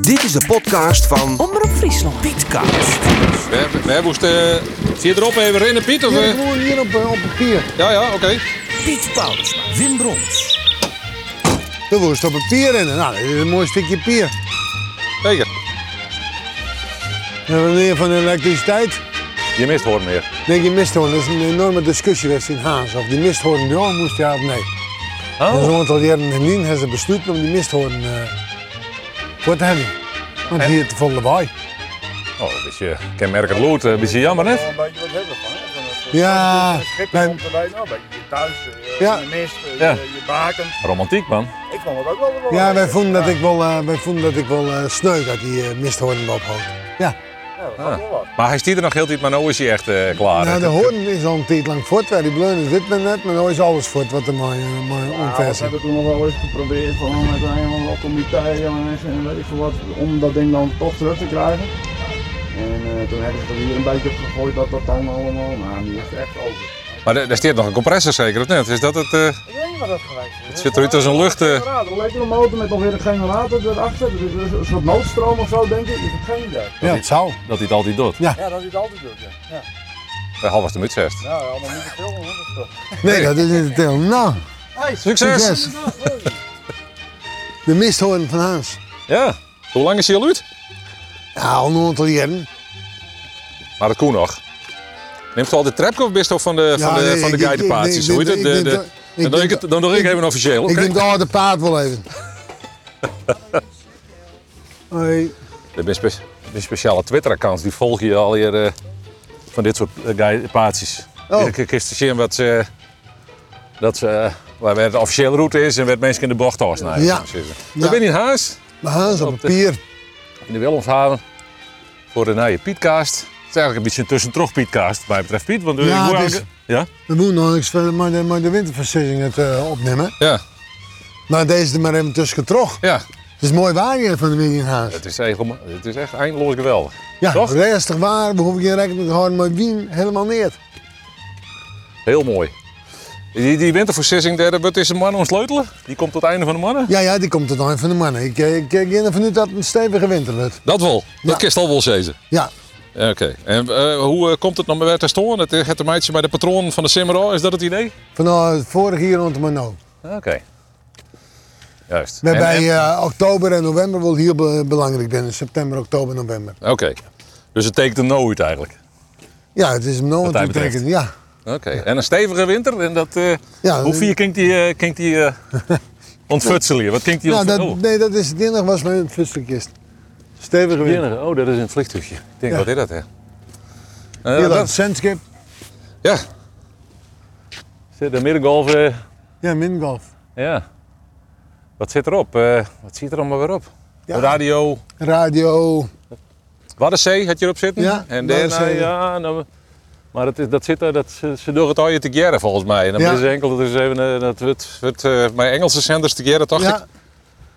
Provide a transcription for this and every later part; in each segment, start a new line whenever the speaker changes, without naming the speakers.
Dit is de podcast van
Omroep Friesland.
Pietcast.
We, eh, we moesten vier erop even rennen, Piet. Of, eh?
gewoon hier op, op papier.
Ja, ja, oké.
Piet Pauws, Wim Brons.
Dan wil je op papier rennen. Nou, dat is een mooi stukje papier.
Zeker.
En wanneer van de elektriciteit,
Je mist hoor meer.
denk je misthoorn. Dat is een enorme discussie geweest in Haas. Of die misthoorn door moest, ja of nee. Dat is een aantal jaren geleden hebben ze besloten om die misthoorn eh voor te hebben. Want hier te volle waai.
Oh, een beetje kenmerkend lood. eh, Een beetje jammer, hè?
Een beetje wat hebben van. hè? Van het-
Ja,
Het schip
mijn-
komt erbij, nou, een beetje je thuis, eh,
Ja.
je mist, eh,
Ja.
je, je baken.
Romantiek, man.
Ik vond het ook wel wel.
ja, wij vonden dat ik wel, eh wij vonden dat ik wel eh, sneu dat die eh, misthoorn ophoud. Ja,
Ja, dat was wel wat.
Maar hij stiert er nog heel tijd, maar nu is hij echt eh, klaar. hè?
nou, de hoorn is al een tijd lang voort. waar Die bleun is dit maar net, maar nu is alles voort wat eh, een mooie, mooie
Ja, we
onversie.
hebben toen nog wel eens geprobeerd van met een of andere comité en en weet ik veel wat, om dat ding dan toch terug te krijgen. En eh, toen hebben ze er hier een beetje op gegooid dat dat dan allemaal, maar nu is het echt over.
Maar er, er stiert nog een compressor zeker, of net? Is dat het... eh,
Ik weet niet wat dat geweest is. Het
zit eruit als een lucht, eh.
Een lekkere motor met nog weer een generator erachter, dus er is een soort noodstroom of zo denk ik, ik heb geen idee.
Ja, het zou.
dat hij het altijd doet?
Ja, dat is altijd doet, ja. ja.
Bij half was de muts vast.
Ja, allemaal niet te veel, hoor. dat is toch.
Nee, dat is niet het deel. Nou,
Succes!
yes. De misthoorn van Haas.
Ja. Hoe lang is hij al uit?
Ja, al een aantal jaren.
Maar dat koe nog. Neemt u al de trapke of bist u van de, van
Ja,
de,
nee,
van de
ik- ik-
guidepaartjes?
ik-
Hoe heet
ik-
het?
ik-
De- de-
ik- ik-
Dan doe ik het- dan doe ik even officieel,
Ik
oké?
neem de oude paard wel even. Hoi.
Er zijn spe- er zijn speciale Twitter-accounts, die volgen je al hier eh, van dit soort eh, guidepaartjes.
Oh.
Ik Ik is te zien wat ze, dat ze, eh, waar waar de officiële route is en waar mensen in de bocht Nou, afsnijden.
Ja.
We zijn in Haas,
Maar Haas op
Op de-
papier.
in de Willemshaven, voor de nieuwe Pietcast. Het is eigenlijk een beetje een tussentrog Pietcast, wat mij betreft Piet. Want eh,
Ja,
ik hoor
het
eigenlijk- ja?
We moeten nog niks verder, maar de, maar de winterversiering het eh, opnemen.
Ja,
Nou, deze er maar even tussen getrokken.
ja.
Het is mooi waar hier van de middag in Haas.
Het, is echt, om- het is echt eindeloos geweldig.
Ja,
toch?
rustig waar. We hoeven geen rekening te houden met Wien. Helemaal niet.
Heel mooi. Die, die winterversissing, daar wat is een man ontsleutelen. Die komt tot het einde van de mannen.
Ja, ja, die komt het dan van de mannen. Ik, eh, ik, ik ga ervan uit dat het een stevige winter wordt.
Dat wel.
Ja.
Dat kist al wel zezen.
Ja,
Ja, Oké, en eh, hoe eh, komt het nog weer te storen? Het eh, het meidje bij de patroon van de Simmerau, is dat het idee?
vanaf het vorige jaar rond de Mano.
Oké. Juist.
We
En-
bij
en-
eh, oktober en november wel heel be- belangrijk binnen. September, oktober, november.
Oké, dus het tekent een no uit eigenlijk.
Ja, het is hem nou
Wat
wat
dat
u tekent. Ja.
Oké, en een stevige winter en dat... eh,
Ja,
hoe vier kinkt die, eh, kinkt die eh ontfutselen hier? Wat kinkt die
Nou, dat,
ontfutselen?
nee, dat is het enige was mijn visselkist. Stevige
Oh,
wind.
jennige. oh, dat is een vliegtuigje. Ik denk,
Ja.
wat is dat hè? Eh,
Hier dat
dat,
zandskip.
ja. Zit de middengolf, eh,
Ja, mingolf.
ja. Wat zit erop? Eh, wat ziet er allemaal weer op? Radio,
Radio.
Waddenzee had je erop zitten.
Ja,
en daarna,
Waddenzee.
ja, nou, maar dat, is, dat zit daar, dat, ze, ze door het al je te geren volgens mij. En dan
Ja.
is enkel, dat is even, eh, dat wordt, wordt eh, bij Engelse zenders te geren, dacht ik.
Ja,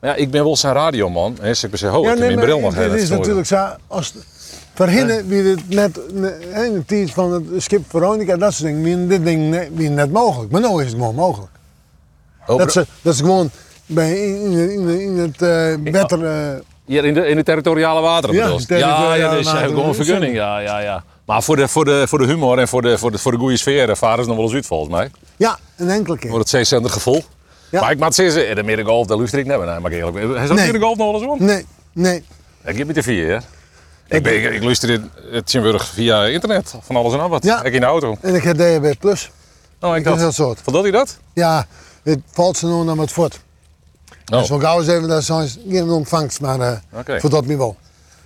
Maar ja, ik ben wel zijn radioman. En ik ben zo, oh,
ja
ik heb mijn bril nog
dit
heel
is natuurlijk zo. Als, verhinnen wie dit net, ne- hè, in de tijd van het schip Veronica, dat soort dingen, wie dit ding ne- wie net mogelijk. Maar nu is het gewoon mogelijk.
Oh,
Dat ze, dat ze gewoon bij, in, in, in, in het eh wetter... eh,
Hier in de, in de territoriale wateren
Ja,
bedoel je? Ja,
territoriale
ja, dus ze
wateren,
hebben gewoon een
dat is
vergunning. Ja, ja, ja. Maar voor de, voor, de, voor de humor en voor de, voor de, voor de goede sfeer eh, varen ze nog wel eens uit volgens mij.
ja, een enkele keer.
Voor het zeezender gevoel.
Ja.
Maar ik maak ze in eh, de middengolf, daar luister ik niet meer naar. Maar ik eerlijk, hij is ook
Nee.
middengolf nog wel eens om.
Nee, nee.
Ik heb met de vier, hè? Ik, ben, ik, ik luister dit, het Tjimburg via internet, van alles en al wat.
Ja.
Ik in de auto.
En ik heb DHB Plus.
Oh, ik
Dat is dat
dacht,
soort.
verdoet hij dat?
Ja, het valt ze nou naar het fort.
Oh,
Zo gauw is even, daar zijn ze geen ontvangst, maar eh,
Oké.
voor dat niet wel.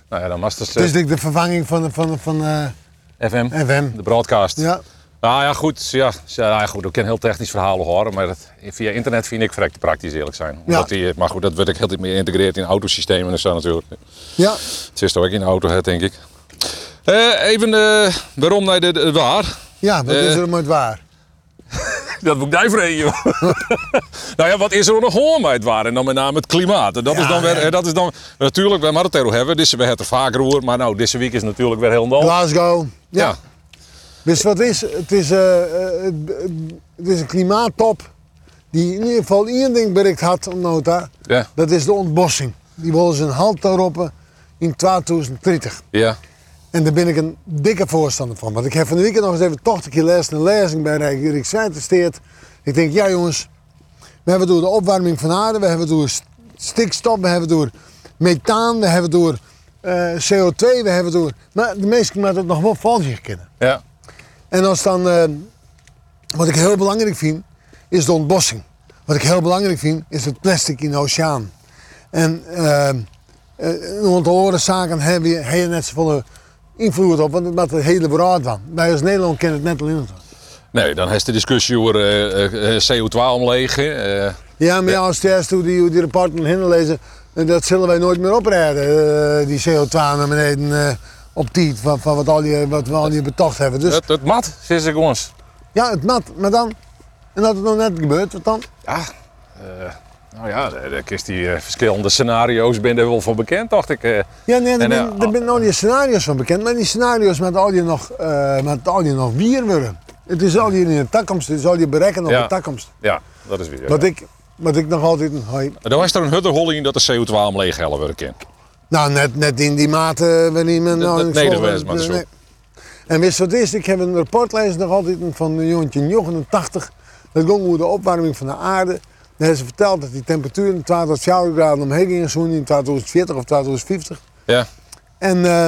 nou ja, dan was het,
Het
eh,
is denk ik de vervanging van, de- van, de- van eh,
FM,
FM.
de broadcast.
Ja.
Nou ja, goed, ja, ja, ja, goed, ik kan heel technisch verhalen horen, maar dat, via internet vind ik vrek te praktisch eerlijk zijn. Omdat
Ja.
die, eh, maar goed, dat werd ik heel erg meer geïntegreerd in autosystemen en zo natuurlijk.
Ja,
Het is toch ook in de auto, hè, denk ik. Eh, even eh waarom naar de, de waar.
ja wat
Eh.
is er met waar?
Dat moet ik daar vreden. nou ja, wat is er nog hoor bij het waar? En dan met name het klimaat. En dat, is
Ja,
dan weer,
ja.
dat is dan natuurlijk, we hadden het erover hebben. Dus we hebben het er vaker over. Maar nou, deze week is natuurlijk weer heel nul.
Glasgow. Ja.
oh. Ja.
Dus wat is het? Is, eh, eh, het, het is een klimaattop die in ieder geval één ding bereikt had, om nota.
Ja.
Dat is de ontbossing. die willen ze een halt roepen in 2030.
Ja.
En daar ben ik een dikke voorstander van. Want ik heb van de weekend nog eens even 80 keer les en lezing bij Rijk Erik Zijtersteert. Ik denk, ja jongens, we hebben door de opwarming van aarde, we hebben door st- stikstof, we hebben door methaan, we hebben door eh, CO2, we hebben door... Maar de meesten moeten het nog wel van zich kennen.
Ja.
En als dan, eh, wat ik heel belangrijk vind, is de ontbossing. Wat ik heel belangrijk vind, is het plastic in de oceaan. En eh, eh, want de andere zaken hebben je, hebben net zoveel eh, invloed op, want het maakt het hele broad van. Wij als Nederland kennen het net alleen.
Nee, dan heeft de discussie over eh, eh, eh, CO2 omleeg. eh,
Ja, maar ja, als het eerst hoe die, hoe die rapporten hinnen lezen, eh, dat zullen wij nooit meer oprijden. eh, die CO2 naar beneden eh, op tijd van, van wat, al die, wat we al die betocht hebben. Dus
het, het mat, zes seconds.
ja, het mat, maar dan. En dat het nog net gebeurt, wat dan?
Ja. eh, nou ja, daar daar is die eh, verschillende scenario's ben je er wel van bekend, dacht ik. eh.
Ja, nee, daar
En,
ben,
eh,
daar ben al die scenario's van bekend. Maar die scenario's met al die nog, eh met al die nog bier worden. Het is al die in de toekomst, het is al die berekken op
Ja.
de toekomst.
ja, dat is weer.
Wat, ik, wat ik nog altijd, hoi,
Dan was er een huttenholling in dat de CO2 omleeg helpen werd kind.
nou net, net in die mate waarin men nou
dat-
in
nee, dat
Sloven-
was maar zo.
nee. En wist je wat het is? Ik heb een rapportlijst nog altijd van een jongetje in 89. Dat ging over de opwarming van de aarde. Daar hebben ze verteld dat die temperatuur in 240 graden omheen ging, zo in 2040 of 2050.
Ja.
En, eh,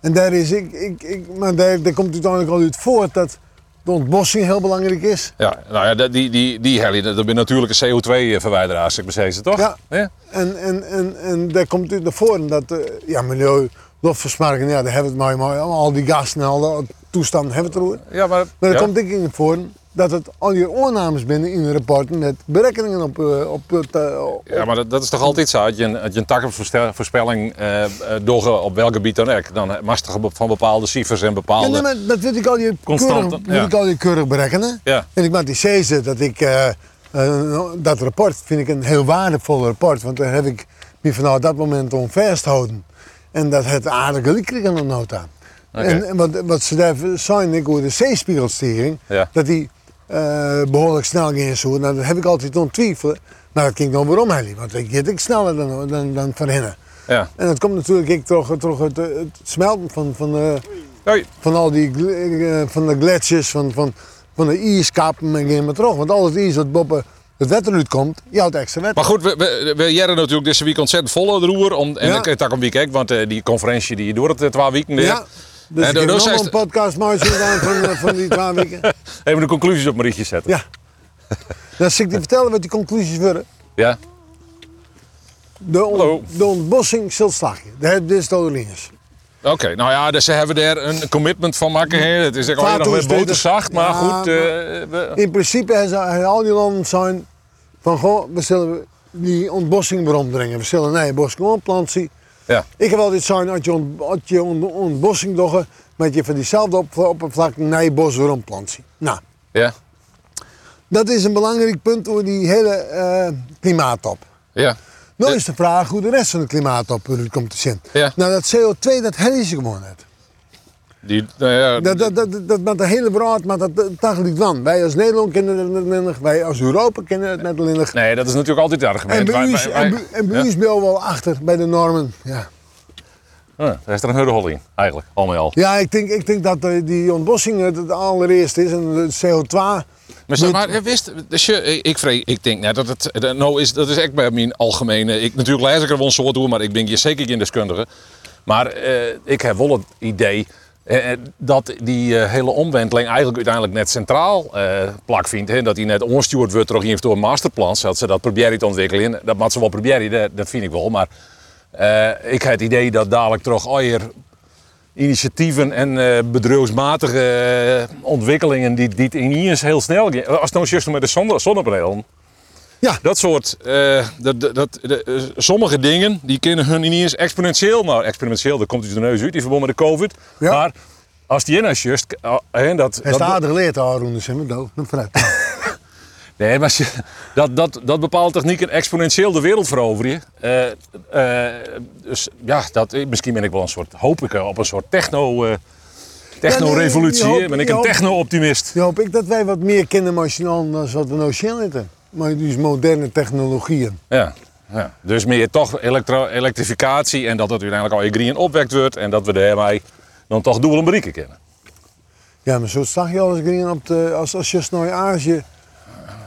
en daar is ik, ik, ik maar daar, daar komt uiteindelijk al uit voort dat de ontbossing heel belangrijk is.
ja, nou ja, dat- die, die, die heli, dat ben natuurlijk een CO2-verwijderaar, ik bezig ze toch?
Ja.
ja.
En, en, en, en daar komt uit naar voren dat, eh, ja, milieu, luchtversmarking, ja, daar hebben we het maar, maar al die gassen en al dat toestanden hebben we het erover.
Ja, maar...
Maar
ja.
daar komt ik in naar voren dat het al je oornames binnen in de rapporten met berekeningen op, eh, op, het, eh, op
Ja, maar dat, dat is toch altijd zo. Had je een, had je een takkenvoorspelling eh eh, door op welk gebied dan ook, dan mag je toch van bepaalde cijfers en
Ja,
bepaalde...
nee, maar dat weet ik al je
Constante,
keurig, moet
ja.
ik al je keurig berekenen.
Ja.
En ik maak die cese dat ik eh, eh, dat rapport vind ik een heel waardevol rapport, want daar heb ik me vanaf dat moment om vasthouden. En dat het aardige liedje aan de nota. En, en wat, wat ze daar zijn, ik hoor de zeespiegelstering,
Ja.
dat die eh, behoorlijk snel ging zo. Nou, dat heb ik altijd onttwijfelen. Maar dat ging dan waarom, Helly, want ik get ik sneller dan, dan, dan van hen.
Ja.
En dat komt natuurlijk ik, toch, toch het, het smelten van, van de
Hoi.
van al die gl- eh, van de gletsjers, van, van, van de ijskappen en geen maar terug. Want al het ijs dat boppen het wetteruit komt, je houdt extra wet.
Maar goed, we, we, we jaren natuurlijk deze week ontzettend vol aan het roer. Om, en
Ja.
ik het ook een week ook, want eh, die conferentie die je door het eh, twee weken deed.
ja. Dus
En
ik
dan- dan
heb nog
Eh, zei
wel een
ze-
podcast maar gedaan van, eh, van die twee weken.
Even de conclusies op Marietje zetten.
Ja. Dan zit ik te vertellen wat die conclusies worden.
Ja.
De, on-
Hallo.
de ontbossing zult slagen. De het is de Orleans.
Oké, nou ja, dus ze hebben daar een commitment van maken. hè. Het is ook alweer nog weer
Vaathoes,
boterzacht, maar
ja,
goed. eh, we-
In principe hebben ze- hebben al die landen zijn van goh, we zullen die ontbossing weer omdringen. We zullen nee, bos gewoon planten.
ja.
Ik heb altijd zo'n, als je, ont, als je ont- ontbossing doet, met je van diezelfde op, oppervlakte nee bos weer omplanten. Nou,
Ja.
dat is een belangrijk punt voor die hele eh klimaattop.
Ja.
Dan
Eh.
is de vraag hoe de rest van de klimaattop eruit komt te zien.
Ja.
Nou, dat CO2, dat hebben ze gewoon net.
Die, nou ja,
Dat, dat, dat, dat, maakt de hele brood, maar dat dat dagelijks van. Wij als Nederland kennen het net lindig, wij als Europa kennen het net lindig.
Nee, dat is natuurlijk altijd het argument.
En bij
Wij-
u
wij-
is- en
wij-
bij- en bij
Ja.
u is Bel wel achter bij de normen. Ja.
Ja, daar is er een hurdehol in, eigenlijk, al met al.
Ja, ik denk, ik denk dat eh, die ontbossing het, het allereerst is en de CO2.
Maar, zeg maar eh, wist, dus je, ik, ik, vrees- ik denk net dat het, dat- nou is, dat is echt bij mijn algemene, ik, natuurlijk lees ik er wel een soort door, maar ik ben hier zeker geen deskundige. Maar eh, ik heb wel het idee eh, eh, dat die eh, hele omwenteling eigenlijk uiteindelijk net centraal eh, plak vindt. Hè? Dat die net onstuurd wordt door een door masterplans, dat ze dat proberen te ontwikkelen. En Dat mag ze wel proberen, dat, dat vind ik wel. Maar eh, ik heb het idee dat dadelijk toch alweer initiatieven en eh bedrijfsmatige eh, ontwikkelingen die, die het in hier eens heel snel gaan. Als het nou juist met de zonne, zonnepanelen.
Ja.
Dat soort, eh, dat, dat, dat- de- eh, sommige dingen die kunnen hun in hier eens exponentieel, nou exponentieel, daar komt u de neus uit in verband met de COVID.
Ja.
Maar als die in als juist, eh, en dat,
Hij
dat-
staat er geleerd, Arun
dus,
de Simmerdo. Dan vooruit.
Nee, maar als je- dat, dat, dat bepaalde technieken exponentieel de wereld veroveren. je. Eh, eh, dus ja, dat, misschien ben ik wel een soort, hoop ik, eh, op een soort techno, eh, techno-revolutie.
Ja, nee, je
hè. ben ik
hoopt-
een
je hoopt-
techno-optimist.
Dan hoop ik dat wij eh, wat meer kennen machinaal dan wat we nou zien zitten. Maar dus moderne technologieën.
Ja. Ja. Dus meer toch elektro- elektrificatie en dat het uiteindelijk al je green opwekt wordt en dat we daarmee dan toch doelen bereiken kunnen.
Ja, maar zo zag je alles green op de, als, als je naar Azië.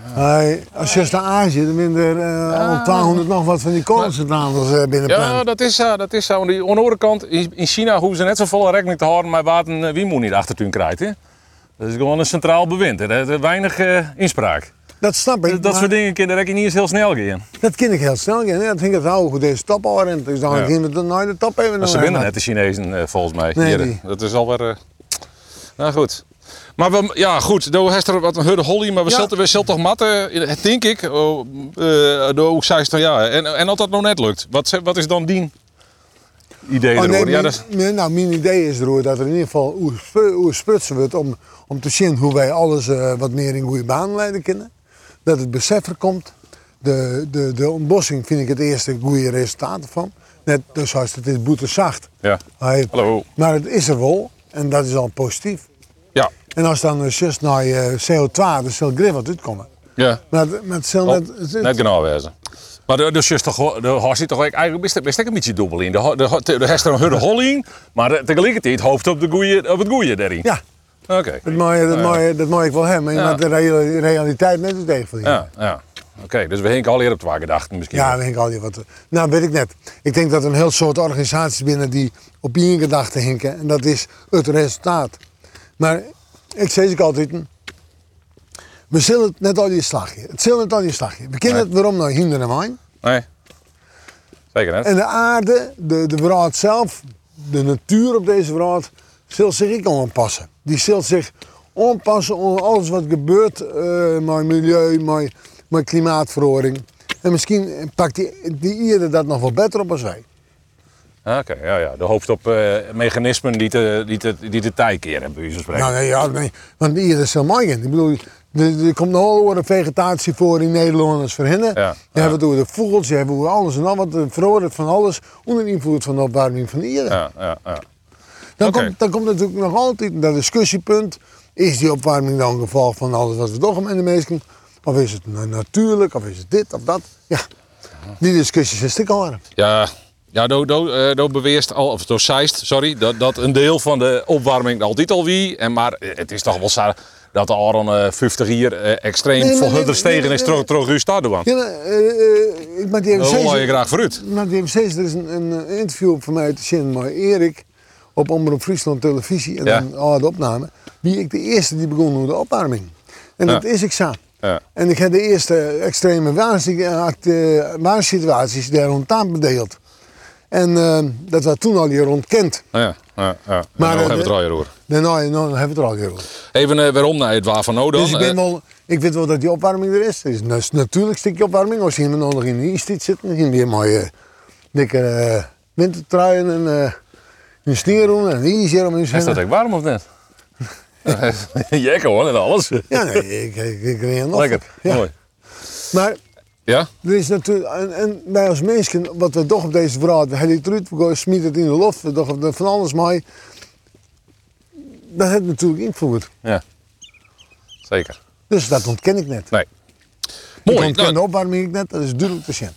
Hij, als je naar Azië, dan minder eh al 200 nog wat van die kolencentrales eh binnen
Ja, dat is zo. Dat is zo. Aan de andere kant, in in China hoeven ze net zo volle rekening te houden met wat een eh, wiemoe niet achter hun krijgt. Hè? Dat is gewoon een centraal bewind. Hè? Daar is weinig eh, inspraak.
Dat snap ik.
Dat, dat
maar
soort dingen kunnen niet eens heel snel gaan.
dat ken ik heel snel. Ja, dat ging het oude goed deze top al en dus dan
Ja.
gingen we dan nooit de top even
Maar ze
naar-
winnen net de Chinezen eh, volgens mij.
Nee,
Hier, eh,
die-
Dat is alweer. eh, nou goed. Maar we, ja, goed. Doe heeft er wat een hurde holly, maar we
Ja.
zullen we zullen toch matten, eh, denk ik. Oh, eh, door ook zei ze dan ja. En, en als dat nog net lukt, wat, ze- wat is dan dien idee
Oh,
erover?
nee,
ja,
mijn,
dat is-
mijn- nou, mijn idee is erover dat er in ieder geval hoe spru- hoe sprutsen we het om, om te zien hoe wij alles eh, wat meer in goede baan leiden kunnen. Dat het besef er komt. De, de, de ontbossing vind ik het eerste goede resultaat van. Net dus als het is boeterzacht.
ja.
Hij-
Hallo.
Maar het is er wel en dat is al positief.
Ja.
En als dan eh, just naar eh, CO2, dan zal grif wat uitkomen.
Ja.
Maar, het- maar het zal
Oh,
net, het- het-
net genau wezen. Maar de, dus is toch, de horst toch ook eigenlijk best, best ook een beetje dubbel in. De, ho- de, ho- de, de herst er een hurde hol in, maar eh, tegelijkertijd hoofd op, de goeie, op het goeie daarin.
ja,
Oké.
dat mooie, dat, mooie, dat mooie ik wel hebben. Maar je
Ja.
maakt de reali- realiteit net het tegen van
Ja, ja. Oké, dus we hinken al eerder op waar gedachten misschien.
Ja, denk ik al die wat. Nou, weet ik net. Ik denk dat er een heel soort organisaties binnen die op je gedachten hinken. En dat is het resultaat. Maar ik zeg ook altijd. We zullen het net al je slagje. Het zullen het al je slagje. We kennen het waarom nou hinder en wijn.
Nee. Zeker hè?
En de aarde, de, de wereld zelf, de natuur op deze wereld, zal zich ook aanpassen. Die zal zich aanpassen aan alles wat gebeurt eh met milieu, met, met klimaatverandering. En misschien pakt die, die eerder dat nog wel beter op als wij.
Ah, Oké, ja, ja. De hoofd op eh, mechanismen die te, die, te, die te tij keren, bij wijze van spreken.
Nou, nee, ja, nee, want die eerder zal mooi in. Ik bedoel, er, er komt nog wel een vegetatie voor in Nederland als voor hen. Je
ja.
hebt het over de vogels, je hebt het over alles en al wat. Er verandert van alles onder invloed van de opwarming van de aarde.
Ja, ja, ja.
Dan,
Oké.
komt, dan komt natuurlijk nog altijd dat discussiepunt. Is die opwarming dan een geval van alles wat we toch om in de mensen? Of is het na- natuurlijk? Of is het dit of dat? Ja, die discussies is stik aan.
Ja, ja do, do, eh, do beweerst al, of do zeist, sorry, dat, dat een deel van de opwarming altijd al wie. En maar eh, het is toch wel zo dat er al een eh, 50 hier eh, extreem
Nee, nee,
veel
nee,
hunter
nee,
stegen
nee,
is tro-
nee.
tro- uw stadion.
Ja, maar, eh, eh, ik maak die even
Daar
steeds-
Oh, hoor je graag vooruit.
ik maak die even steeds- Er is een, een eh, interview van mij te zien met Erik op Omroep Friesland Televisie. En
Ja.
dan oh, de opname. Wie ik de eerste die begon met de opwarming. En
Ja.
dat is ik zo.
Ja.
En ik heb de eerste extreme eh, waarsituaties daar rondaan bedeeld. En eh, dat was toen al hier ontkend.
Ja, ja, ja.
Maar,
Maar
eh,
hebben we het
de-
al over.
Nou, nou, nou hebben we het er al heel over.
Even eh, waarom naar het waar van Eh, Odan.
Dus ik, ben wel, ik weet wel dat die opwarming er is. Er is nat- natuurlijk een stukje opwarming. Als je iemand nog in de iets zit, dan zien we weer mooie eh, dikke eh, wintertruien en eh, een sneeuwroen en een ijsje om in
Is dat
zijn.
ook warm of net? Jekker hoor, en alles.
Ja, nee, ik, ik, ik reed nog.
Lekker,
Ja.
mooi.
Maar
Ja?
Er is natuurlijk, en, en wij als mensen, wat we toch op deze verhaal, we hebben het eruit, we gooien- smieten het in de loft, we toch op de- van alles maar. Dat heeft natuurlijk invloed.
Ja. Zeker.
Dus dat ontken ik net.
Nee.
ik
Mooi.
ontken
Nou,
de opwarming ik net, dat is duidelijk te zien. En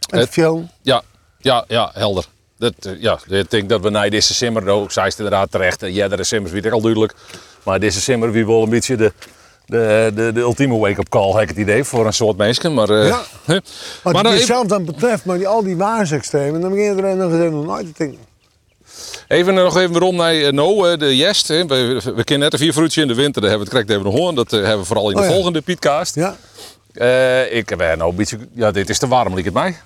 Het-
het film,
ja, ja, ja, helder. Dat, eh, ja, ik denk dat we na deze simmer ook, zij is inderdaad terecht. En ja, de simmers weet ik al duidelijk. Maar deze simmer wie wel een beetje de, de, de, de ultieme wake-up call, heb ik het idee, voor een soort mensen. Maar, eh,
Ja.
hè.
wat
maar
het
dan even,
jezelf dan betreft, maar die, al die waarsextremen, dan begin je er nog eens nog nooit te denken.
Even eh, nog even rond naar eh, No, eh, de Jest. hè. We, we kennen net een vier fruitje in de winter, daar hebben we het correct even nog hoorn. Dat eh, hebben we vooral in de
Oh ja.
volgende Pietcast.
Ja?
Eh, ik heb nou een beetje, ja, dit is te warm, lijkt het mij.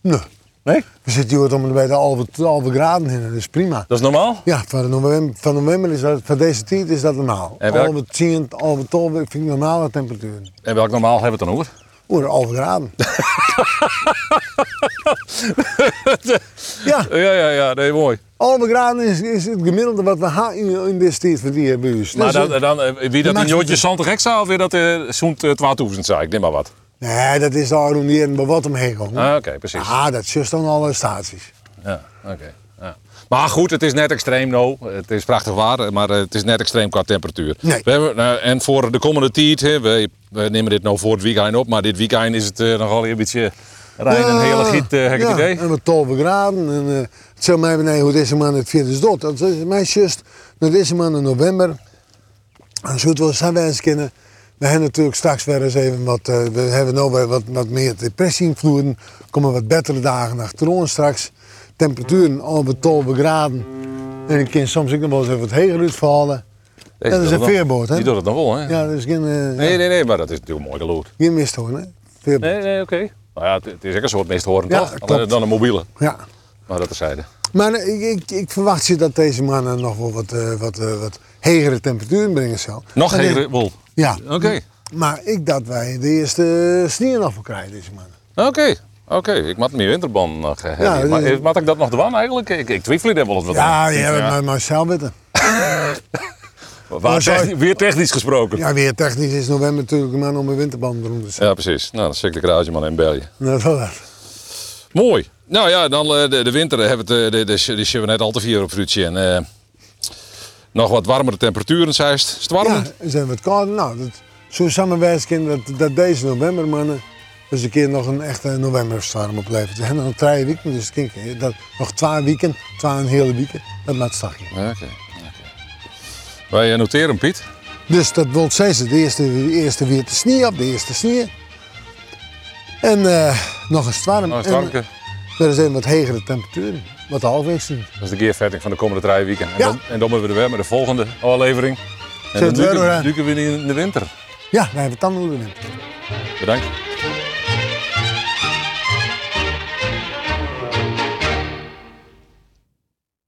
Nee.
Nee?
We zitten hier om bij de halve, halve graden in, dat is prima.
Dat is normaal?
Ja, van november, van november is dat, van deze tijd is dat normaal.
En welk-
Al het zien, al het tol, vind ik normale temperaturen.
En welk normaal hebben we het dan over?
Oeh, halve graden. ja,
Eh, Ja, ja, ja, nee, mooi.
halve graden is, is het gemiddelde wat we ha in, in dit tijd van die buurt.
Maar
Dus,
dan,
eh,
dan, eh, wie dat
maakt
in Jotje
het-
Santig Hek zou, of weer dat eh zo'n eh, 12.000 zei, ik neem maar wat.
Nee, dat is daar rond hier bij wat omheen komen.
Ah, Oké, precies.
Ah, dat is dan alle staties.
Ja, oké, ja. Maar goed, het is net extreem, no. Het is prachtig waar, maar eh, het is net extreem qua temperatuur.
Nee.
We hebben, nou, en voor de komende tijd, hè, we, we nemen dit nou voor het weekend op, maar dit weekend is het eh, nogal eh, een beetje Rijn en hele giet, eh, heb ik het
ja,
idee.
En met 12 graden. En, eh, het zei mij beneden hoe deze man het vindt is dood. Dat is mijn zus. Dat is een man in november. En zo het wel samenwijs kennen. We hebben natuurlijk straks weer eens even wat. eh, we hebben nou weer wat, wat meer depressie-invloeden. Komen wat betere dagen achter ons straks. Temperaturen over 12 graden. En ik kan soms ook nog wel eens even wat heger uitvallen.
Deze
dat is
doet
een
het dan-
veerboot, hè?
Die doet het dan wel, hè?
Ja, dat is geen, eh,
Nee, nee, nee, maar dat is natuurlijk mooi geloerd.
geen misthoorn, hè? Veerboot.
Nee, nee, oké. Nou ja, het, het is ook een soort meesthorend,
Ja,
toch?
klopt.
Alleen Dan een mobiele,
Ja.
maar dat terzijde.
Maar eh, ik, ik, ik verwacht je dat deze mannen nog wel wat, eh, wat, eh, wat hegere temperaturen brengen zal.
Nog
Maar dit-
geen wol.
Ja.
Oké, oké.
Maar ik dat wij de eerste sneeuw af krijgen deze mannen.
Oké, ik moet meer winterband nog eh,
Ja,
hebben. maar
dit-
eh, moet ik dat nog doen eigenlijk? Ik, ik twijfel er wel eens wat
Ja,
aan.
ja, maar, maar zelf weten.
Waar
maar zou-
techni- weer technisch gesproken. Ja.
Ja, weer technisch is november natuurlijk een man om een winterband rond te zetten.
precies. Nou, dan zet ik de garage maar in België.
Nou, dat wel.
Mooi. Nou ja, dan eh, de, de winter eh, hebben we het, eh, de, de, de, die zien we net al te vier op Fruitje. En eh, nog wat warmere temperaturen, zei het. Is het warm?
Ja, er zijn wat koud. Nou, dat, zo samenwijs kunnen dat, dat deze november mannen dus een keer nog een echte novemberstorm oplevert. We hebben nog twee weken, dus het kan- dat, nog twee weken, twee een hele weken, dat maakt stakje.
Oké. oké. Wij eh, noteren hem, Piet.
Dus dat wil zeggen, de eerste, de eerste weer te sneeuw op, de eerste sneeuw. En eh, nog eens warm.
Nou, is
En
het warmke.
Er zijn wat hegere temperaturen, wat afwisseling.
Dat is de gearvetting van de komende drie weken. En,
Ja.
dan, en dan hebben we er weer met de volgende aflevering. En
Zet
dan
het weer
duiken-
door, hè?
duiken we in de winter.
Ja, wij hebben tanden in.
Bedankt.